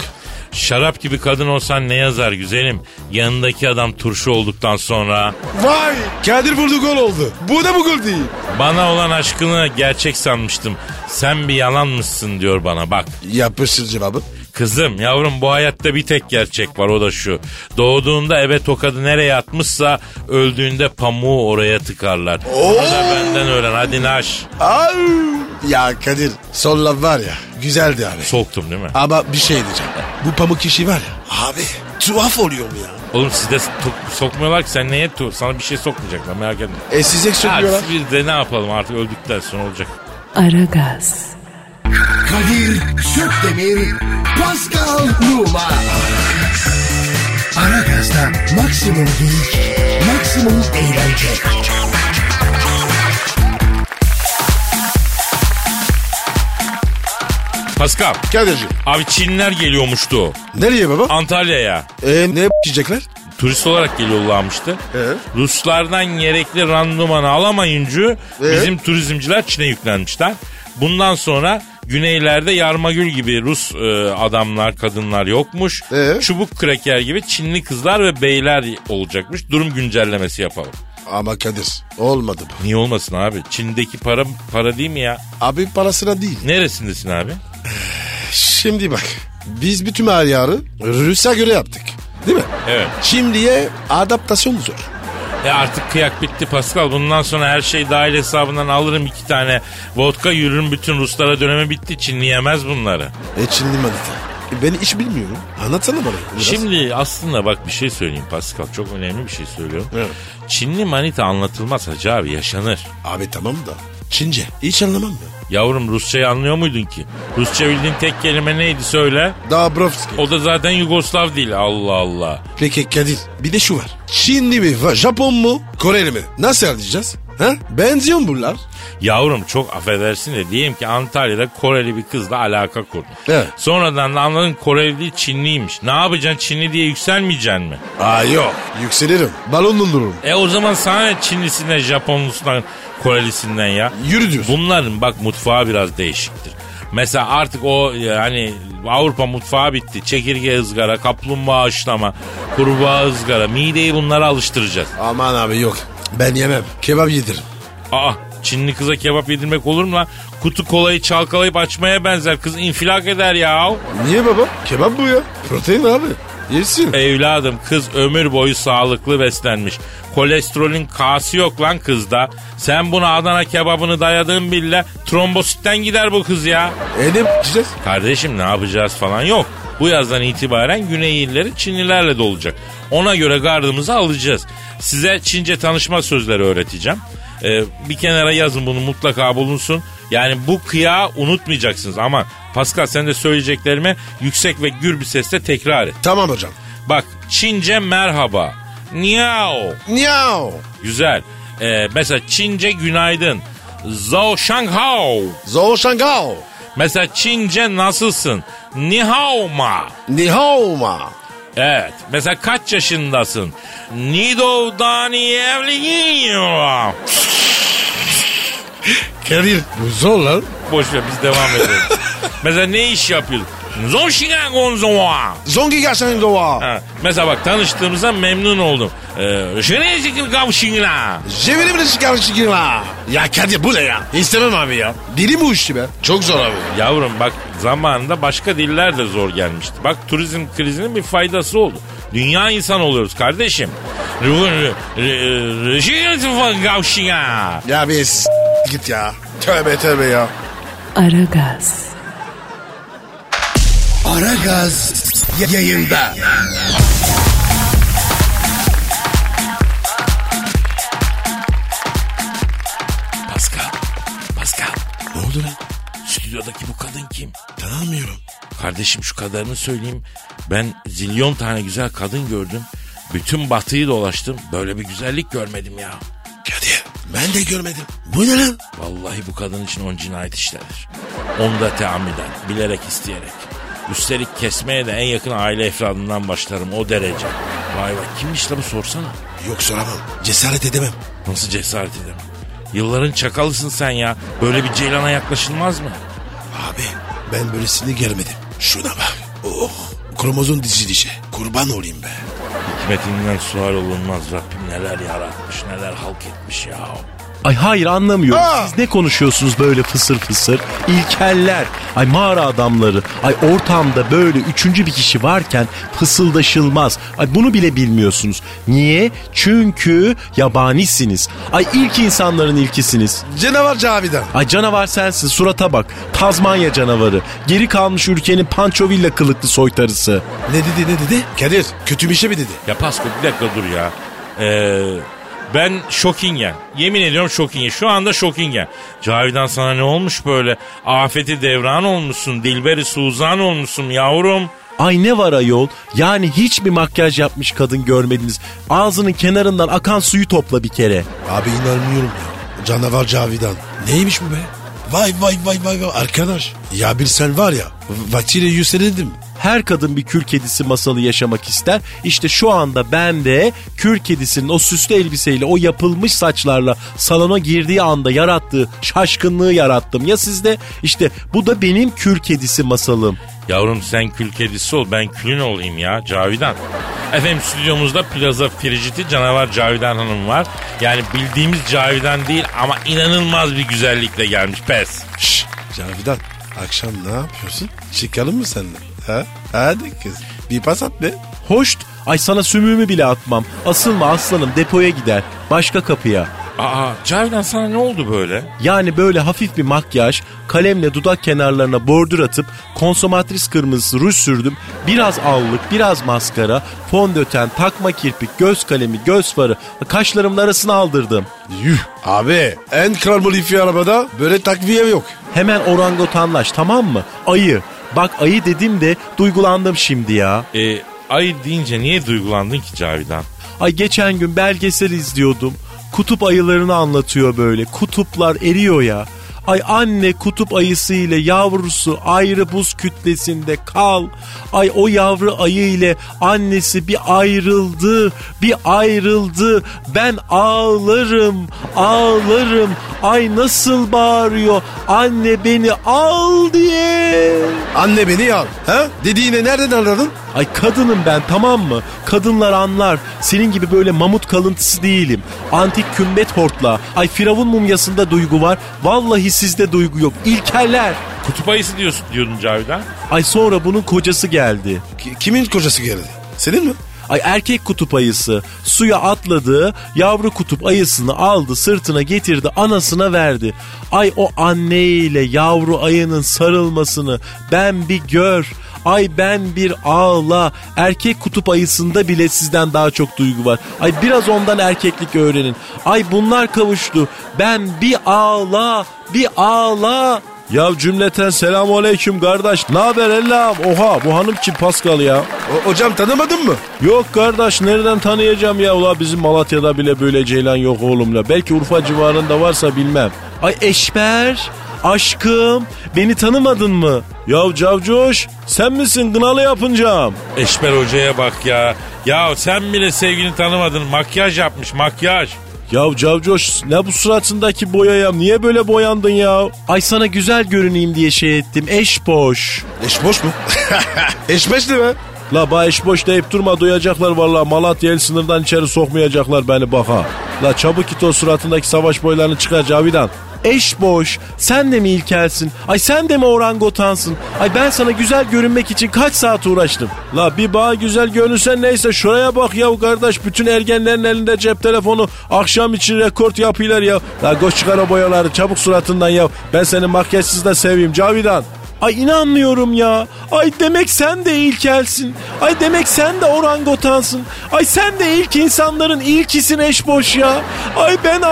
Speaker 4: Şarap gibi kadın olsan ne yazar güzelim? Yanındaki adam turşu olduktan sonra
Speaker 3: Vay! Kadir vurdu gol oldu. Bu da bu gol değil.
Speaker 4: bana olan aşkını gerçek sanmıştım. Sen bir yalanmışsın diyor bana bak.
Speaker 3: Yapışır cevabı.
Speaker 4: Kızım yavrum bu hayatta bir tek gerçek var o da şu. Doğduğunda ebe tokadı nereye atmışsa öldüğünde pamuğu oraya tıkarlar. Onu da benden öğren hadi naş.
Speaker 3: Ay! Ya Kadir son laf var ya güzeldi abi.
Speaker 4: Soktum değil mi?
Speaker 3: Ama bir şey diyeceğim. Bu pamuk işi var ya. Abi tuhaf oluyor mu ya?
Speaker 4: Oğlum sizde to- sokmuyorlar ki sen neye tu? Sana bir şey sokmayacaklar merak etme.
Speaker 3: E size
Speaker 4: Abi
Speaker 3: söylüyorlar.
Speaker 4: biz de ne yapalım artık öldükten sonra olacak.
Speaker 1: Aragaz,
Speaker 9: Kadir Çöpdemir, Pascal Numa. Aragaz'da maksimum bilgi, maksimum eğlence.
Speaker 4: Pascal
Speaker 3: Kadir'ci.
Speaker 4: abi Çinliler geliyormuştu
Speaker 3: Nereye baba?
Speaker 4: Antalya'ya.
Speaker 3: E, ne yiyecekler?
Speaker 4: turist olarak geliyorlarmıştı. Ruslardan gerekli randımanı alamayınca bizim turizmciler Çin'e yüklenmişler. Bundan sonra güneylerde yarmagül gibi Rus e, adamlar, kadınlar yokmuş.
Speaker 3: Ee?
Speaker 4: Çubuk kreker gibi Çinli kızlar ve beyler olacakmış. Durum güncellemesi yapalım.
Speaker 3: Ama Kadir olmadı bu.
Speaker 4: Niye olmasın abi? Çin'deki para para değil mi ya?
Speaker 3: Abi parasına değil.
Speaker 4: Neresindesin abi?
Speaker 3: Şimdi bak biz bütün her yarı Rus'a göre yaptık. Değil mi?
Speaker 4: Evet.
Speaker 3: Şimdiye adaptasyon zor.
Speaker 4: E artık kıyak bitti Pascal. Bundan sonra her şey dahil hesabından alırım iki tane. Vodka yürürüm bütün Ruslara dönemi bitti. Çinli yemez bunları.
Speaker 3: E Çinli manita. E, ben hiç bilmiyorum. Anlatsana bana. biraz.
Speaker 4: Şimdi aslında bak bir şey söyleyeyim Pascal. Çok önemli bir şey söylüyorum.
Speaker 3: Evet.
Speaker 4: Çinli manita anlatılmaz hacı abi yaşanır.
Speaker 3: Abi tamam da Çince hiç anlamam ya.
Speaker 4: Yavrum Rusçayı anlıyor muydun ki? Rusça bildiğin tek kelime neydi söyle.
Speaker 3: Dabrowski.
Speaker 4: O da zaten Yugoslav değil. Allah Allah.
Speaker 3: Peki Kadir bir de şu var. Çinli mi, va- Japon mu, Koreli mi? Nasıl anlayacağız? Ha? Benziyor mu bunlar?
Speaker 4: Yavrum çok affedersin de diyeyim ki Antalya'da Koreli bir kızla alaka kurdun.
Speaker 3: Evet.
Speaker 4: Sonradan da anladın Koreli değil Çinliymiş. Ne yapacaksın Çinli diye yükselmeyeceksin mi?
Speaker 3: Aa yok. Yükselirim. Balonla dururum.
Speaker 4: E o zaman sana ne Çinlisinden, Japonlusundan, Korelisinden ya?
Speaker 3: Yürü diyorsun.
Speaker 4: Bunların bak mutfağı biraz değişiktir. Mesela artık o e, hani Avrupa mutfağı bitti. Çekirge ızgara, kaplumbağa haşlama, kurbağa ızgara. Mideyi bunlara alıştıracağız.
Speaker 3: Aman abi yok. Ben yemem. Kebap yediririm.
Speaker 4: Aa Çinli kıza kebap yedirmek olur mu lan? Kutu kolayı çalkalayıp açmaya benzer. Kız infilak eder ya.
Speaker 3: Niye baba? Kebap bu ya. Protein abi. Yesin.
Speaker 4: Evladım kız ömür boyu sağlıklı beslenmiş. Kolesterolün kası yok lan kızda. Sen buna Adana kebabını dayadığın bile trombositten gider bu kız ya.
Speaker 3: E ne yapacağız?
Speaker 4: Kardeşim ne yapacağız falan yok. Bu yazdan itibaren güney illeri Çinlilerle dolacak. Ona göre gardımızı alacağız. Size Çince tanışma sözleri öğreteceğim. Ee, bir kenara yazın bunu mutlaka bulunsun. Yani bu kıyağı unutmayacaksınız ama Pascal sen de söyleyeceklerimi yüksek ve gür bir sesle tekrar et.
Speaker 3: Tamam hocam.
Speaker 4: Bak Çince merhaba. Niao.
Speaker 3: Niao.
Speaker 4: Güzel. Ee, mesela Çince günaydın. Zao Shanghao.
Speaker 3: Zhou Shangao.
Speaker 4: Mesela Çince nasılsın? Ni hao ma.
Speaker 3: Ni hao ma.
Speaker 4: Evet. Mesela kaç yaşındasın? Ni dou da ni evliliğin yok.
Speaker 3: Kadir. Bu zor lan.
Speaker 4: Boş ver biz devam edelim. mesela ne iş yapıyorsun? Zor şigan gonzoa.
Speaker 3: Zongi gelsen doğa.
Speaker 4: Ha, Mesela bak tanıştığımıza memnun oldum. Ee, şöyle çıkıp kavşingla.
Speaker 3: Cebini bile çıkarmış la. Ya Kadir bu ne ya? İstemem abi ya. Dili bu işi be. Çok zor abi.
Speaker 4: Yavrum bak zamanında başka diller de zor gelmişti. Bak turizm krizinin bir faydası oldu. Dünya insan oluyoruz kardeşim.
Speaker 3: Ya bir s- git ya. Tövbe tövbe ya.
Speaker 1: Aragaz,
Speaker 9: Aragaz yayında.
Speaker 4: Pascal, Pascal. Ne oldu lan? Stüdyodaki bu kadın kim?
Speaker 3: Tanımıyorum.
Speaker 4: Kardeşim şu kadarını söyleyeyim. Ben zilyon tane güzel kadın gördüm. Bütün batıyı dolaştım. Böyle bir güzellik görmedim ya.
Speaker 3: Kadir ben de görmedim. Bu ne lan?
Speaker 4: Vallahi bu kadın için on cinayet işlenir. Onda teamüden, bilerek isteyerek. Üstelik kesmeye de en yakın aile efradından başlarım o derece. Vay vay kimmiş la bu sorsana.
Speaker 3: Yok soramam. Cesaret edemem.
Speaker 4: Nasıl cesaret edemem. Yılların çakalısın sen ya. Böyle bir ceylana yaklaşılmaz mı?
Speaker 3: Abi ben böylesini görmedim. Şuna bak. Oh. Kromozom dizilişi. Kurban olayım be.
Speaker 4: Hikmetinden sual olunmaz Rabbim neler yaratmış neler halk etmiş ya.
Speaker 7: Ay hayır anlamıyorum.
Speaker 3: Aa!
Speaker 7: Siz ne konuşuyorsunuz böyle fısır fısır? İlkeller, ay mağara adamları, ay ortamda böyle üçüncü bir kişi varken fısıldaşılmaz. Ay bunu bile bilmiyorsunuz. Niye? Çünkü yabanisiniz. Ay ilk insanların ilkisiniz.
Speaker 3: Canavar Cavidan.
Speaker 7: Ay canavar sensin surata bak. Tazmanya canavarı. Geri kalmış ülkenin pançovilla kılıklı soytarısı.
Speaker 3: Ne dedi ne dedi? Kadir kötü bir şey mi dedi?
Speaker 4: Ya Pasko bir dakika dur ya. Ee, ben şokingen. Yemin ediyorum şokingen. Şu anda şokingen. Cavidan sana ne olmuş böyle? Afeti devran olmuşsun. Dilberi Suzan olmuşsun yavrum.
Speaker 7: Ay ne var ayol? Yani hiç mi makyaj yapmış kadın görmediniz? Ağzının kenarından akan suyu topla bir kere.
Speaker 3: Abi inanmıyorum ya. Canavar Cavidan. Neymiş bu be? Vay vay vay vay vay arkadaş. Ya bir sen var ya vaktiyle yükselirdim.
Speaker 7: Her kadın bir kür kedisi masalı yaşamak ister. İşte şu anda ben de kür kedisinin o süslü elbiseyle, o yapılmış saçlarla salona girdiği anda yarattığı şaşkınlığı yarattım. Ya sizde işte bu da benim kür kedisi masalım.
Speaker 4: Yavrum sen kül kedisi ol ben külün olayım ya Cavidan. Efendim stüdyomuzda plaza friciti canavar Cavidan Hanım var. Yani bildiğimiz Cavidan değil ama inanılmaz bir güzellikle gelmiş pes.
Speaker 3: Şşş Cavidan akşam ne yapıyorsun? Çıkalım mı seninle? Ha? Hadi kız bir pas at be.
Speaker 7: Hoşt, ay sana sümüğümü bile atmam. Asılma aslanım depoya gider. Başka kapıya.
Speaker 4: Aa Cavidan sana ne oldu böyle?
Speaker 7: Yani böyle hafif bir makyaj, kalemle dudak kenarlarına bordür atıp konsomatris kırmızısı ruj sürdüm. Biraz allık, biraz maskara, fondöten, takma kirpik, göz kalemi, göz farı kaşlarımın arasına aldırdım.
Speaker 3: Yuh abi en kral modifiye arabada böyle takviye yok.
Speaker 7: Hemen orangotanlaş tamam mı? Ayı. Bak ayı dedim de duygulandım şimdi ya.
Speaker 4: E, ay deyince niye duygulandın ki Cavidan?
Speaker 7: Ay geçen gün belgesel izliyordum. Kutup ayılarını anlatıyor böyle. Kutuplar eriyor ya. Ay anne kutup ayısı ile yavrusu ayrı buz kütlesinde kal. Ay o yavru ayı ile annesi bir ayrıldı, bir ayrıldı. Ben ağlarım, ağlarım. Ay nasıl bağırıyor anne beni al diye.
Speaker 3: Anne beni al. Ha? Dediğine nereden anladın?
Speaker 7: Ay kadınım ben tamam mı? Kadınlar anlar. Senin gibi böyle mamut kalıntısı değilim. Antik kümbet hortla. Ay firavun mumyasında duygu var. Vallahi sizde duygu yok. İlkeller.
Speaker 4: Kutup ayısı diyorsun diyordun Cavidan.
Speaker 7: Ay sonra bunun kocası geldi.
Speaker 3: Ki- Kimin kocası geldi? Senin mi?
Speaker 7: Ay erkek kutup ayısı suya atladı, yavru kutup ayısını aldı, sırtına getirdi, anasına verdi. Ay o anneyle yavru ayının sarılmasını ben bir gör. Ay ben bir ağla. Erkek kutup ayısında bile sizden daha çok duygu var. Ay biraz ondan erkeklik öğrenin. Ay bunlar kavuştu. Ben bir ağla, bir ağla. Ya cümleten selamun aleyküm kardeş. Ne haber ellam? Oha bu hanım kim Pascal ya?
Speaker 3: O- hocam tanımadın mı?
Speaker 7: Yok kardeş nereden tanıyacağım ya ula bizim Malatya'da bile böyle ceylan yok oğlumla. Belki Urfa civarında varsa bilmem. Ay Eşber aşkım beni tanımadın mı? Ya Cavcoş sen misin gınalı yapıncam?
Speaker 4: Eşber Hoca'ya bak ya. Ya sen bile sevgini tanımadın. Makyaj yapmış makyaj.
Speaker 7: Ya Cavcoş ne bu suratındaki boyaya niye böyle boyandın ya? Ay sana güzel görüneyim diye şey ettim eş boş.
Speaker 3: Eş boş mu? Eş beşli mi?
Speaker 7: La ba eş boş deyip durma duyacaklar vallahi Malatya el sınırdan içeri sokmayacaklar beni baka. La çabuk git o suratındaki savaş boylarını çıkar Cavidan. Eş boş. Sen de mi ilkelsin? Ay sen de mi orangotansın? Ay ben sana güzel görünmek için kaç saat uğraştım? La bir bağ güzel görünsen neyse şuraya bak ya kardeş. Bütün ergenlerin elinde cep telefonu akşam için rekord yapıyorlar ya. La koş çıkar o boyaları çabuk suratından ya. Ben seni makyajsız da seveyim Cavidan. Ay inanmıyorum ya. Ay demek sen de ilkelsin. Ay demek sen de orangotansın. Ay sen de ilk insanların ilkisin eşboş ya. Ay ben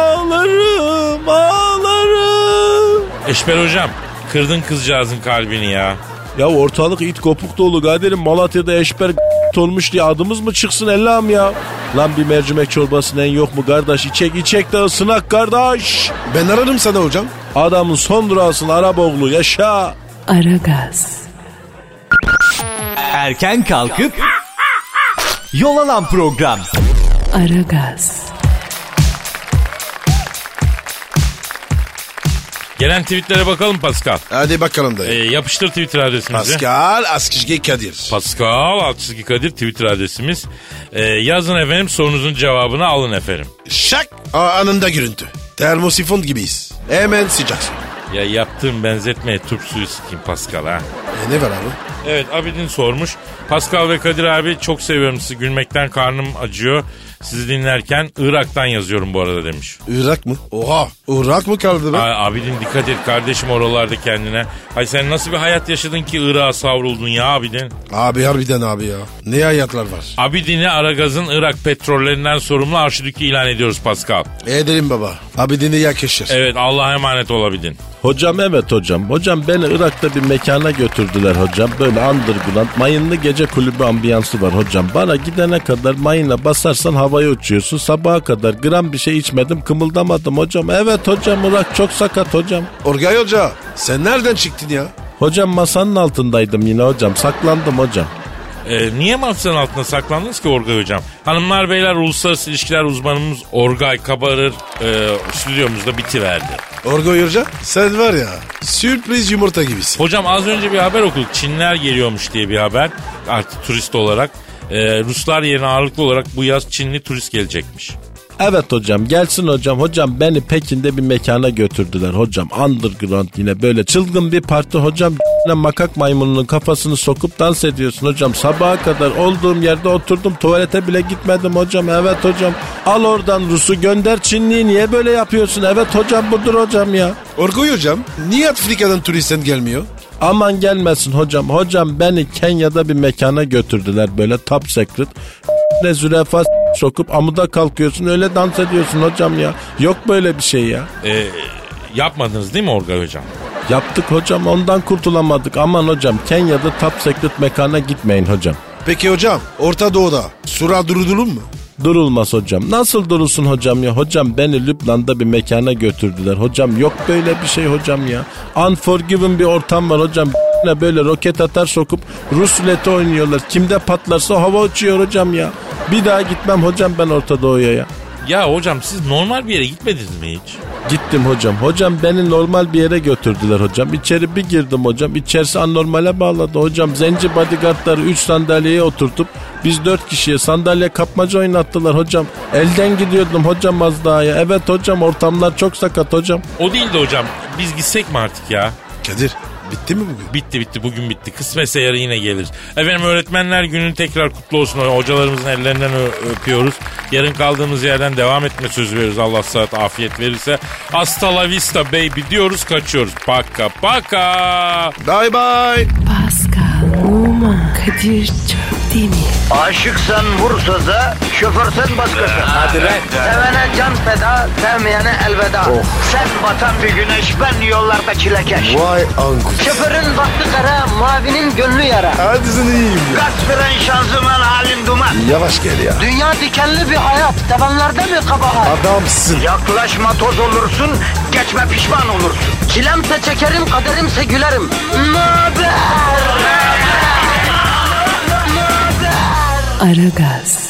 Speaker 7: ağlarım, ağlarım.
Speaker 4: Eşber Hocam kırdın kızcağızın kalbini ya.
Speaker 7: Ya ortalık it kopuk dolu Kadir'im Malatya'da eşber olmuş diye adımız mı çıksın ellam ya? Lan bir mercimek çorbasının en yok mu kardeş? İçek içek de ısınak kardeş.
Speaker 3: Ben ararım sana hocam.
Speaker 7: Adamın son durağısın Araboğlu yaşa.
Speaker 1: Aragaz,
Speaker 8: Erken kalkıp yol alan program.
Speaker 1: Aragaz,
Speaker 4: Gelen tweetlere bakalım Pascal.
Speaker 3: Hadi bakalım
Speaker 4: Ee,
Speaker 3: dayı.
Speaker 4: yapıştır Twitter adresimizi.
Speaker 3: Pascal Askışge Kadir.
Speaker 4: Pascal Altçizgi Kadir Twitter adresimiz. Ee, yazın efendim sorunuzun cevabını alın efendim.
Speaker 3: Şak Aa, anında görüntü. Termosifon gibiyiz. Hemen sıcak. su.
Speaker 4: Ya yaptığım benzetmeye turp suyu sikeyim Pascal ha.
Speaker 3: E, ne var abi?
Speaker 4: Evet Abidin sormuş. Pascal ve Kadir abi çok seviyorum sizi. Gülmekten karnım acıyor. Sizi dinlerken Irak'tan yazıyorum bu arada demiş.
Speaker 3: Irak mı? Oha. Irak mı kaldı be?
Speaker 4: Ay, Abidin dikkat et kardeşim oralarda kendine. Ay sen nasıl bir hayat yaşadın ki Irak'a savruldun ya Abidin?
Speaker 3: Abi harbiden abi ya. Ne hayatlar var?
Speaker 4: Abidin'i Aragaz'ın Irak petrollerinden sorumlu arşidükü ilan ediyoruz Pascal.
Speaker 3: Edelim baba. Abi dini yakışır.
Speaker 4: Evet Allah'a emanet olabildin.
Speaker 7: Hocam evet hocam. Hocam beni Irak'ta bir mekana götürdüler hocam. Böyle underground mayınlı gece kulübü ambiyansı var hocam. Bana gidene kadar mayınla basarsan havaya uçuyorsun. Sabaha kadar gram bir şey içmedim kımıldamadım hocam. Evet hocam Irak çok sakat hocam.
Speaker 3: Orgay Hoca sen nereden çıktın ya?
Speaker 7: Hocam masanın altındaydım yine hocam. Saklandım hocam.
Speaker 4: Ee, niye masanın altına saklandınız ki Orgay Hocam? Hanımlar beyler uluslararası ilişkiler uzmanımız Orgay Kabarır e, stüdyomuzda bitiverdi.
Speaker 3: Orgay Hoca sen var ya sürpriz yumurta gibisin.
Speaker 4: Hocam az önce bir haber okuduk. Çinler geliyormuş diye bir haber. Artık turist olarak. Ee, Ruslar yerine ağırlıklı olarak bu yaz Çinli turist gelecekmiş.
Speaker 7: Evet hocam gelsin hocam. Hocam beni Pekin'de bir mekana götürdüler hocam. Underground yine böyle çılgın bir parti hocam. makak maymununun kafasını sokup dans ediyorsun hocam. Sabaha kadar olduğum yerde oturdum tuvalete bile gitmedim hocam. Evet hocam al oradan Rus'u gönder Çinli'yi niye böyle yapıyorsun? Evet hocam budur hocam ya.
Speaker 3: Orgay Hocam niye Afrika'dan turisten gelmiyor?
Speaker 7: Aman gelmesin hocam. Hocam beni Kenya'da bir mekana götürdüler böyle top secret. Ne zürafa sokup amuda kalkıyorsun öyle dans ediyorsun hocam ya. Yok böyle bir şey ya.
Speaker 4: Ee, yapmadınız değil mi Orgay Hocam?
Speaker 7: Yaptık hocam ondan kurtulamadık. Aman hocam Kenya'da top secret mekana gitmeyin hocam.
Speaker 3: Peki hocam Orta Doğu'da sura durdurulur mu?
Speaker 7: Durulmaz hocam. Nasıl durulsun hocam ya? Hocam beni Lübnan'da bir mekana götürdüler. Hocam yok böyle bir şey hocam ya. Unforgiven bir ortam var hocam. Ne böyle roket atar sokup Rus ruleti oynuyorlar. Kimde patlarsa hava uçuyor hocam ya. Bir daha gitmem hocam ben Orta Doğu'ya ya.
Speaker 4: Ya hocam siz normal bir yere gitmediniz mi hiç?
Speaker 7: Gittim hocam. Hocam beni normal bir yere götürdüler hocam. İçeri bir girdim hocam. İçerisi anormale bağladı hocam. Zenci bodyguardları 3 sandalyeye oturtup biz 4 kişiye sandalye kapmaca oynattılar hocam. Elden gidiyordum hocam az daha ya. Evet hocam ortamlar çok sakat hocam.
Speaker 4: O değil de hocam biz gitsek mi artık ya?
Speaker 3: Kadir bitti mi bugün?
Speaker 4: Bitti bitti bugün bitti. Kısmetse yarın yine gelir. Efendim öğretmenler günün tekrar kutlu olsun. Hocalarımızın ellerinden ö- öpüyoruz. Yarın kaldığımız yerden devam etme sözü veriyoruz. Allah saat afiyet verirse. Hasta la vista baby diyoruz kaçıyoruz. Paka paka.
Speaker 3: Bye bye.
Speaker 1: Pascal, Oman, Kadir çok değil mi?
Speaker 2: Aşıksan vursa da, şoförsen başkasın. Hadi lan. Oh. Sevene can feda, sevmeyene elveda. Sen batan bir güneş, ben yollarda çilekeş.
Speaker 9: Vay anku.
Speaker 2: Şoförün baktı kara, mavinin gönlü yara.
Speaker 9: Hadi sen iyiyim ya.
Speaker 2: Kasperen şanzıman halin duman.
Speaker 9: Yavaş gel ya.
Speaker 2: Dünya dikenli bir hayat, sevenlerde mi kabahar?
Speaker 9: Adamsın.
Speaker 2: Yaklaşma toz olursun, geçme pişman olursun. Çilemse çekerim, kaderimse gülerim. Möber!
Speaker 1: Aragaz.